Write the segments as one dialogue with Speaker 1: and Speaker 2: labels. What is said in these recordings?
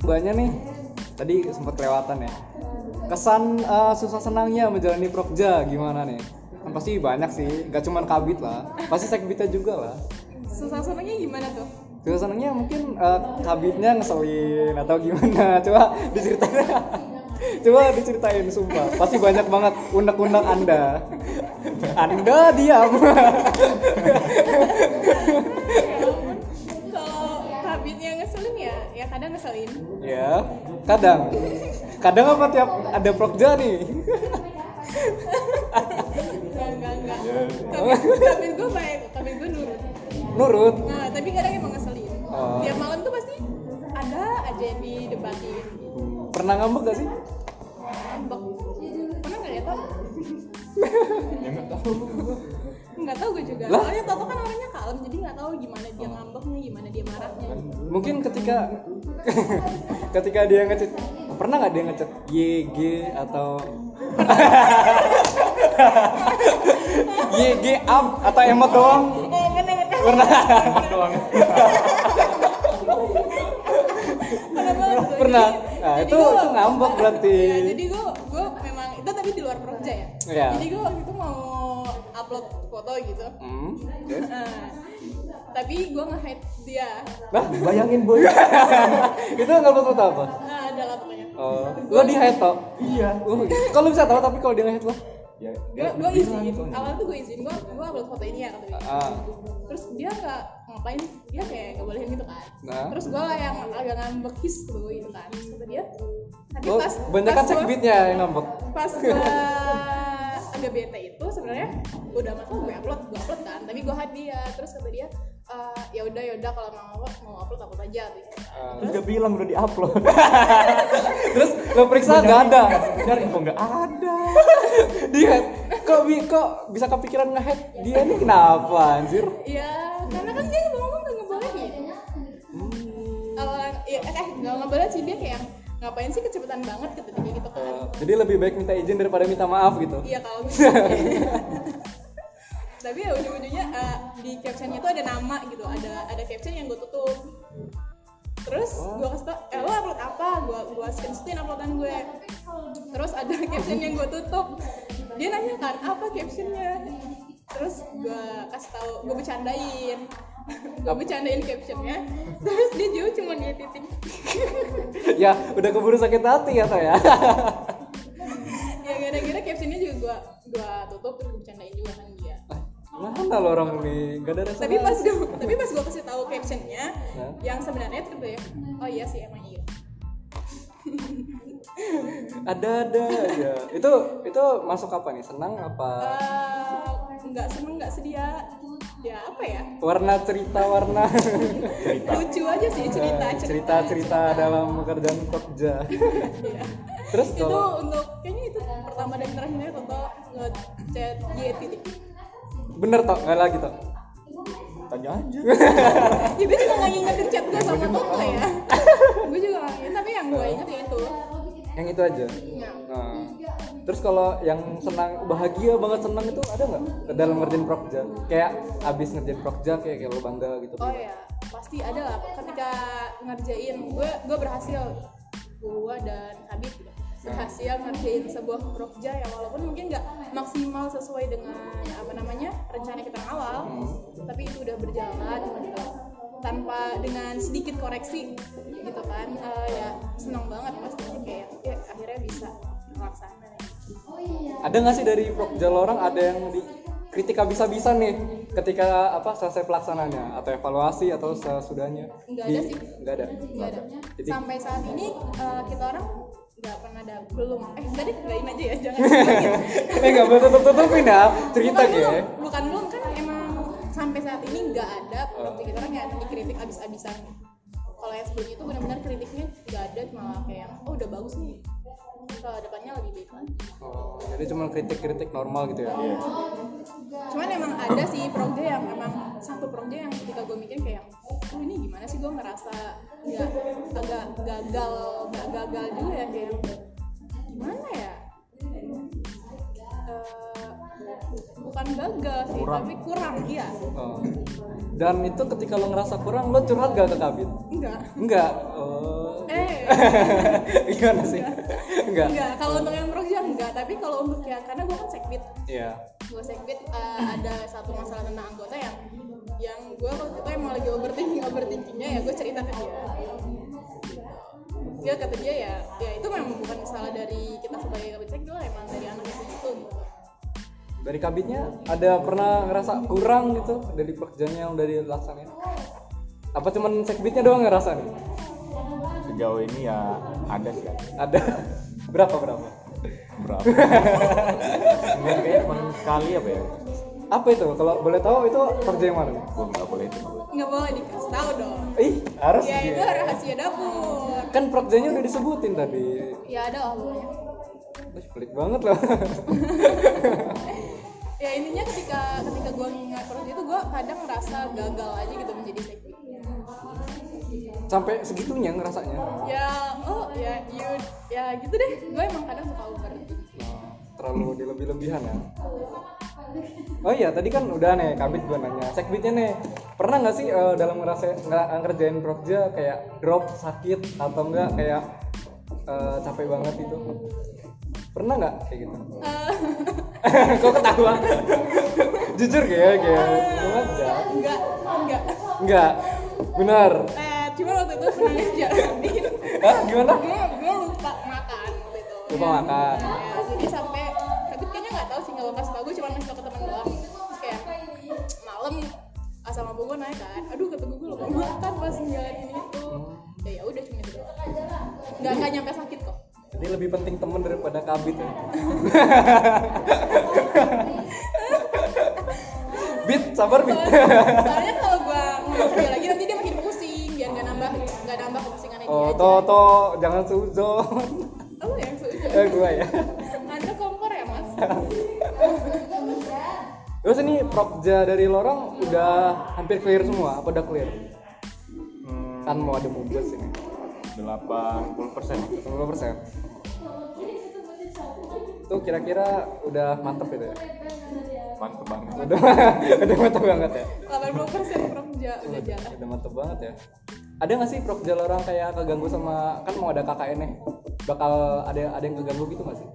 Speaker 1: Banyak nih. Tadi sempat kelewatan ya. Kesan eh, susah senangnya menjalani prokja gimana nih? Kan pasti banyak sih, gak cuman kabit lah. Pasti sekbitnya juga lah.
Speaker 2: Susah senangnya gimana tuh?
Speaker 1: Susah senangnya mungkin eh, kabitnya ngeselin atau gimana. Coba diceritain. Coba diceritain sumpah. Pasti banyak banget unek-unek Anda. Anda diam.
Speaker 2: Ya ampun. Kalau kabinnya ngeselin ya, ya kadang ngeselin.
Speaker 1: ya, kadang. Kadang apa tiap ada prokja nih?
Speaker 2: Enggak, enggak, enggak. Kabin, kabin gue baik, kabin gue nurut.
Speaker 1: Nurut.
Speaker 2: Nah, tapi kadang emang ngeselin.
Speaker 1: Oh.
Speaker 2: Tiap malam tuh pasti ada aja yang didebatin.
Speaker 1: Pernah ngambek gak sih?
Speaker 2: Ambek. Pernah nggak ya, Tok?
Speaker 3: nggak tahu
Speaker 2: Nggak tahu gue juga.
Speaker 1: Lah?
Speaker 2: Soalnya Toto kan orangnya kalem, jadi nggak tahu gimana dia ngambeknya, gimana dia marahnya.
Speaker 1: Mungkin ketika ketika dia ngechat pernah nggak dia ngechat YG atau YG up atau emot doang?
Speaker 2: Eh, ngene, ngene.
Speaker 1: Pernah.
Speaker 3: doang
Speaker 2: Pernah banget gue.
Speaker 1: Pernah.
Speaker 2: Jadi-
Speaker 1: Nah,
Speaker 2: jadi
Speaker 1: itu-
Speaker 2: gue-
Speaker 1: itu ngambek berarti.
Speaker 2: Iya, jadi gue gue memang itu tapi di luar Jogja ya.
Speaker 1: Iya.
Speaker 2: Jadi gue waktu itu mau upload foto gitu.
Speaker 1: Hmm.
Speaker 2: Eh, tapi gue nge-hide dia.
Speaker 1: Nah,
Speaker 3: bayangin boy
Speaker 1: itu nggak betul apa?
Speaker 2: Nah, adalah pokoknya.
Speaker 1: Oh, lo di hate toh?
Speaker 3: iya
Speaker 1: Uh, kalau bisa tahu tapi kalau dia nge-hate lo?
Speaker 3: ya
Speaker 1: Iya,
Speaker 2: Gue gue izin. Awal tuh gue izin. Gue gue upload foto ini ya kata dia.
Speaker 1: gitu. Ah,
Speaker 2: Terus dia nggak ngapain? Dia kayak nggak bolehin gitu kan.
Speaker 1: Nah.
Speaker 2: Terus gue yang agak ngambek his tuh gitu kan. Terus kata dia. Tapi
Speaker 1: lo
Speaker 2: pas
Speaker 1: banyak kan
Speaker 2: pas
Speaker 1: cek
Speaker 2: gua-
Speaker 1: beatnya yang ngambek.
Speaker 2: pas eh, gua agak bete itu sebenarnya udah masuk gue upload gue upload kan tapi gue hadiah terus kata dia "Eh, ya udah ya udah kalau mau mau upload upload aja gitu.
Speaker 1: Ah.
Speaker 3: udah bilang udah diupload
Speaker 1: Terus lo periksa nggak ada.
Speaker 3: cari info nggak ada
Speaker 1: Di hate. Kok bi kok bisa kepikiran nge-hate dia ini kenapa anjir?
Speaker 2: ya karena kan dia ngomong nggak ngebolehin Eh, ya eh nggak ngebolehin sih dia kayak ngapain sih kecepatan banget kata dia gitu kan
Speaker 1: Eh, jadi lebih baik minta izin daripada minta maaf gitu.
Speaker 2: iya kalau misalnya tapi ya ujung-ujungnya eh, di captionnya itu ada nama gitu ada ada caption yang gue tutup terus gue kasih tau eh lo upload apa gue gue screenshotin uploadan gue terus ada caption yang gue tutup dia nanya kan apa captionnya terus gue kasih tau gue bercandain gue bercandain captionnya terus dia jauh cuma dia titik
Speaker 1: Ya, udah keburu sakit hati ya toh ya.
Speaker 2: ya gara-gara captionnya juga gue gue tutup terus gue bercandain juga kan dia
Speaker 1: Mana lo orang ini? Gak ada rasa.
Speaker 2: tapi pas gue tapi pas gue kasih tahu captionnya
Speaker 1: Hah?
Speaker 2: yang sebenarnya itu gue oh iya sih emang iya
Speaker 1: ada ada ya. Itu itu masuk apa nih? Senang apa?
Speaker 2: Eh,
Speaker 1: Ah.
Speaker 2: nggak seneng nggak sedia ya apa ya
Speaker 1: Warna cerita warna
Speaker 2: lucu aja sih cerita
Speaker 1: Eh,
Speaker 2: cerita,
Speaker 1: cerita dalam pekerjaan kerja.
Speaker 2: Iya.
Speaker 1: Terus
Speaker 2: itu
Speaker 1: kalau
Speaker 2: untuk kayaknya itu pertama dan terakhirnya Toto ngechat Y titik
Speaker 1: bener toh nggak lagi toh.
Speaker 3: tanya aja
Speaker 2: ya gue juga nggak ingetin chat gue sama Toto ya gue juga nggak inget tapi yang gue inget ya itu
Speaker 1: Yang itu aja.
Speaker 2: Nah,
Speaker 1: Nah. Terus kalau yang senang bahagia banget senang itu ada nggak dalam ngerjain prokja? Kayak abis ngerjain prokja kayak kayak lo bangga gitu.
Speaker 2: Oh ya, pasti ada lah ketika ngerjain gue gue berhasil gue dan Habib gitu, berhasil ngerjain sebuah project yang walaupun mungkin nggak maksimal sesuai dengan apa namanya rencana kita yang awal, tapi itu udah berjalan gitu. tanpa dengan sedikit koreksi gitu kan Eh, ya senang banget pastinya kayak ya, akhirnya bisa terlaksana
Speaker 1: ada nggak sih dari Prokja orang ada yang di kritik habis-habisan nih ketika apa selesai pelaksanaannya atau evaluasi atau sesudahnya?
Speaker 2: Nggak
Speaker 1: Di-
Speaker 2: ada sih.
Speaker 1: Nggak ada.
Speaker 2: Nggak ada.
Speaker 1: Jadi
Speaker 2: sampai saat ini eh, kita orang nggak pernah ada belum eh tadi lain aja ya jangan
Speaker 1: eh nggak boleh tutup tutupin ya cerita
Speaker 2: bukan
Speaker 1: ya.
Speaker 2: belum, bukan belum kan emang sampai saat ini nggak ada produk kita orang yang dikritik abis-abisan kalau yang sebelumnya itu benar-benar kritiknya nggak ada malah kayak oh udah bagus nih kalau depannya lebih baik lagi
Speaker 1: Oh, jadi cuma kritik-kritik normal gitu ya.
Speaker 2: Iya. cuman emang ada sih proja yang emang satu proja yang ketika gue mikir kayak oh ini gimana sih gue ngerasa nggak agak gagal nggak gagal juga ya kayak gimana ya Eh, bukan gagal sih
Speaker 3: Kurang.
Speaker 2: tapi kurang iya
Speaker 1: Oh. Dan itu ketika lo ngerasa kurang lo curhat gak ke kabin?
Speaker 2: enggak
Speaker 1: Enggak. Oh.
Speaker 2: eh
Speaker 1: gimana sih enggak
Speaker 2: enggak kalau untuk yang pro sih enggak tapi kalau untuk ya karena gue kan sekbid
Speaker 1: iya
Speaker 2: gue sekbid eh, ada satu masalah tentang anggota yang yang gue waktu itu emang lagi overthinking overthinkingnya ya gue cerita ke dia dia kata dia ya ya itu memang bukan salah dari kita sebagai kabin sekbid lah emang dari anak itu gitu
Speaker 1: dari kabitnya ada pernah ngerasa kurang gitu dari pekerjaannya yang dari laksananya apa cuman sekbitnya doang ngerasa nih
Speaker 3: Sejauh ini ya ada sih.
Speaker 1: ada berapa berapa
Speaker 3: Berapa? Cuman kayaknya cuma sekali apa ya?
Speaker 1: apa itu kalau boleh tahu itu kerja yang mana
Speaker 3: Gue nggak boleh itu. nggak boleh.
Speaker 2: nggak boleh dikasih tahu dong
Speaker 1: ih harus
Speaker 2: ya itu
Speaker 1: dia.
Speaker 2: rahasia dapur
Speaker 1: kan pekerjaannya udah disebutin tadi
Speaker 2: ya ada lah pokoknya
Speaker 1: Wih, pelit banget loh
Speaker 2: ya intinya ketika ketika gue ngingat terus itu gue kadang ngerasa gagal aja gitu menjadi sekbid
Speaker 1: sampai segitunya ngerasanya
Speaker 2: ya oh ya you ya gitu deh gue emang kadang suka over
Speaker 1: Nah, terlalu dilebih-lebihan ya oh iya tadi kan udah nih kabit gue nanya sekbitnya nih pernah nggak sih eh, dalam ngerasa nge- ngerjain prokerja kayak drop sakit atau enggak kayak eh, capek banget itu pernah nggak kayak gitu
Speaker 2: Eh,
Speaker 1: kok ketawa jujur kayak kayak banget ya
Speaker 2: Eh, enggak enggak
Speaker 1: enggak benar
Speaker 2: eh cuma waktu itu sebenarnya jalanin
Speaker 1: Hah, gimana
Speaker 2: gue gue lupa makan waktu itu
Speaker 1: Lupa
Speaker 2: Ya,
Speaker 1: makan.
Speaker 2: ya, jadi sampai tapi kayaknya nggak tahu sih nggak lepas tau gue cuma ngasih tau ke teman doang terus kayak malam asam abu gue naik kan aduh kata gue gue lupa makan kan pas ngejalanin itu
Speaker 1: Hmm.
Speaker 2: ya ya udah cuma itu doang nggak nggak nyampe sakit kok
Speaker 1: jadi lebih penting temen daripada kabit ya. bit sabar bit
Speaker 2: Soalnya- soalnya kalau gua ngomong dia lagi nanti dia makin pusing biar nggak nambah nggak nambah kepusingannya dia
Speaker 1: Oh,
Speaker 2: aja.
Speaker 1: to to jangan suzon.
Speaker 2: Lu yang
Speaker 1: eh,
Speaker 2: sudah
Speaker 1: gua ya.
Speaker 2: anda kompor ya mas
Speaker 1: Terus ini prokja dari lorong udah hampir clear semua, apa udah clear?
Speaker 3: Hmm,
Speaker 1: Kan mau ada mubes ini.
Speaker 3: 80 persen.
Speaker 1: 10%. Itu kira-kira udah mantep itu ya.
Speaker 3: Mantep banget.
Speaker 1: Udah udah mantep banget ya.
Speaker 2: 80 persen kerja udah jalan
Speaker 1: Udah mantep banget ya. Ada nggak sih prokja lorong kayak keganggu sama kan mau ada KKN nih. Bakal ada ada yang keganggu gitu nggak sih?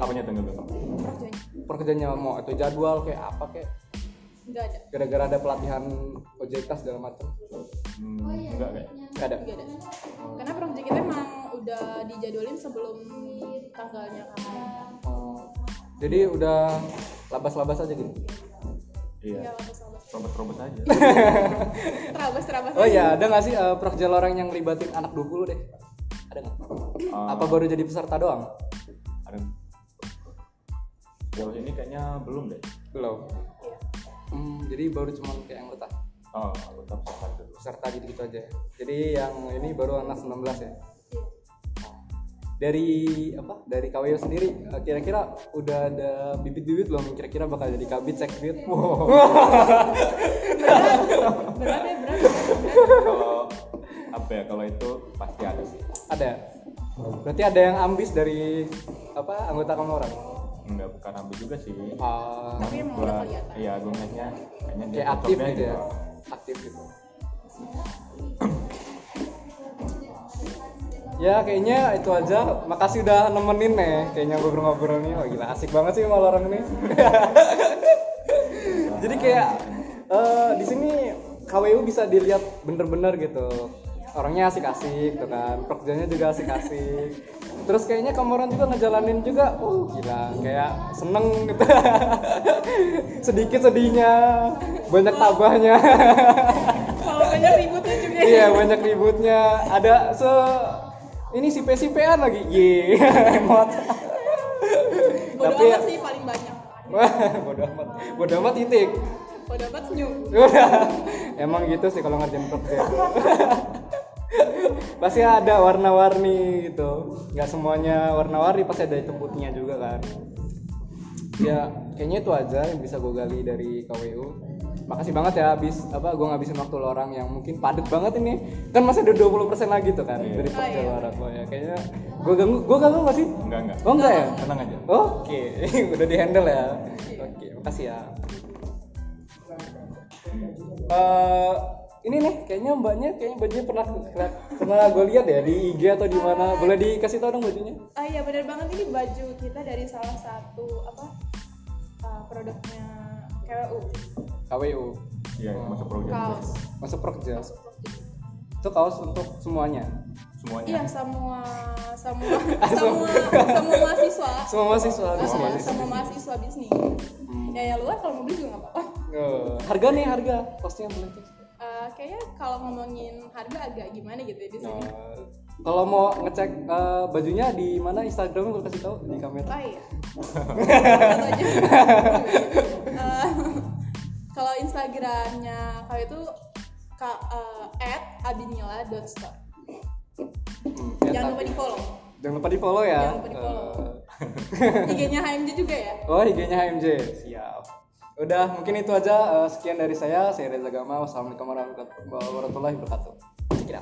Speaker 3: Apanya tuh nggak
Speaker 2: kerjanya
Speaker 1: Pekerjaannya mau atau jadwal kayak apa kayak
Speaker 2: nggak ada
Speaker 1: gara-gara ada pelatihan OJK segala macam
Speaker 3: Hmm, enggak kayak.
Speaker 1: nggak ada
Speaker 2: nggak ada karena project kita emang udah dijadwalin sebelum tanggalnya kan. kamu
Speaker 1: Oh, jadi udah labas-labas aja gitu
Speaker 2: ya
Speaker 3: Iya.
Speaker 2: terabas
Speaker 3: Robot-robot aja. Eh,
Speaker 2: terabas terabas
Speaker 1: oh iya ada nggak sih eh, prokerja loreng yang libatin anak 20 deh ada nggak
Speaker 3: Ah,
Speaker 1: apa baru jadi peserta doang
Speaker 3: ada jauh ini kayaknya belum deh
Speaker 1: belum
Speaker 2: Iya.
Speaker 1: hmm, jadi baru cuma kayak anggota
Speaker 3: oh aku tetap sama dulu
Speaker 1: peserta gitu gitu aja jadi yang ini baru anak 19 ya dari apa dari KWO sendiri eh, kira-kira udah ada bibit-bibit belum yang kira-kira bakal jadi kabit sekbit
Speaker 2: berat ya berat
Speaker 3: kalau apa ya kalau itu pasti ada sih
Speaker 1: ada berarti ada yang ambis dari apa anggota kamu orang
Speaker 3: nggak bukan ambil juga sih
Speaker 1: Ah,
Speaker 2: Tapi emang udah kelihatan.
Speaker 3: iya gue ngeliatnya kayaknya dia
Speaker 1: kayak aktif
Speaker 3: cocoknya
Speaker 1: gitu ya
Speaker 3: gitu.
Speaker 1: aktif gitu ya kayaknya itu aja makasih udah nemenin nih kayaknya ngobrol-ngobrol nih wah gila asik banget sih malah orang ini jadi kayak eh, di sini KWU bisa dilihat bener-bener gitu orangnya asik-asik gitu kan pekerjaannya juga asik-asik terus kayaknya kamoran juga ngejalanin juga uh gila kayak seneng gitu sedikit sedihnya banyak tabahnya
Speaker 2: kalau banyak ributnya juga
Speaker 1: iya banyak ributnya ada se ini si sipean lagi ye emot
Speaker 2: bodo
Speaker 1: tapi ya
Speaker 2: amat sih paling banyak
Speaker 1: wah bodoh amat bodoh amat titik
Speaker 2: bodo amat senyum
Speaker 1: udah emang gitu sih kalau ngerjain kerja pasti ada warna-warni gitu nggak semuanya warna-warni pasti ada hitam putihnya juga kan ya kayaknya itu aja yang bisa gue gali dari KWU makasih banget ya habis apa gue ngabisin waktu lorang yang mungkin padat banget ini kan masih ada 20% lagi tuh kan
Speaker 3: Iya.
Speaker 1: dari
Speaker 2: Oh,
Speaker 1: pekerja
Speaker 2: iya.
Speaker 1: lorang oh, ya kayaknya gue ganggu gue ganggu nggak sih
Speaker 3: enggak enggak
Speaker 1: oh enggak ya
Speaker 3: tenang aja
Speaker 1: oke udah di handle ya oke makasih ya Eh, ini nih kayaknya mbaknya kayaknya bajunya pernah pernah gue lihat ya di IG atau di mana boleh dikasih tau dong bajunya
Speaker 2: Ah iya benar banget ini baju kita dari salah satu apa ah, produknya KWU
Speaker 1: KWU
Speaker 3: Iya, masa program
Speaker 2: kaos
Speaker 1: masa kerja
Speaker 2: masuk produk.
Speaker 1: itu kaos untuk semuanya
Speaker 3: semuanya.
Speaker 2: Iya semua semua semua semua mahasiswa
Speaker 1: semua mahasiswa semua
Speaker 2: Ah, iya,
Speaker 1: mahasiswa.
Speaker 2: semua mahasiswa bisnis
Speaker 1: Hmm.
Speaker 2: ya yang luar kalau mau beli juga nggak apa-apa
Speaker 1: Eh, harga nih harga kosnya boleh tuh.
Speaker 2: Eh, kayaknya kalau ngomongin harga agak gimana gitu ya di sini
Speaker 1: Eh, kalau mau ngecek eh, bajunya di mana Instagramnya gue kasih tahu di kamera
Speaker 2: Oh iya. Satu aja. Eh, Kalau Instagramnya kalau itu ka- eh, @abinila.store.
Speaker 1: Hmm, ya,
Speaker 2: Jangan lupa
Speaker 1: tapi-
Speaker 2: di follow.
Speaker 1: jangan lupa di follow ya
Speaker 2: Jangan lupa di follow. IG-nya HMJ juga ya.
Speaker 1: Eh, oh IG-nya HMJ siap udah mungkin itu aja Eh, sekian dari saya saya Reza Gama wassalamualaikum warahmatullahi wabarakatuh Check it out.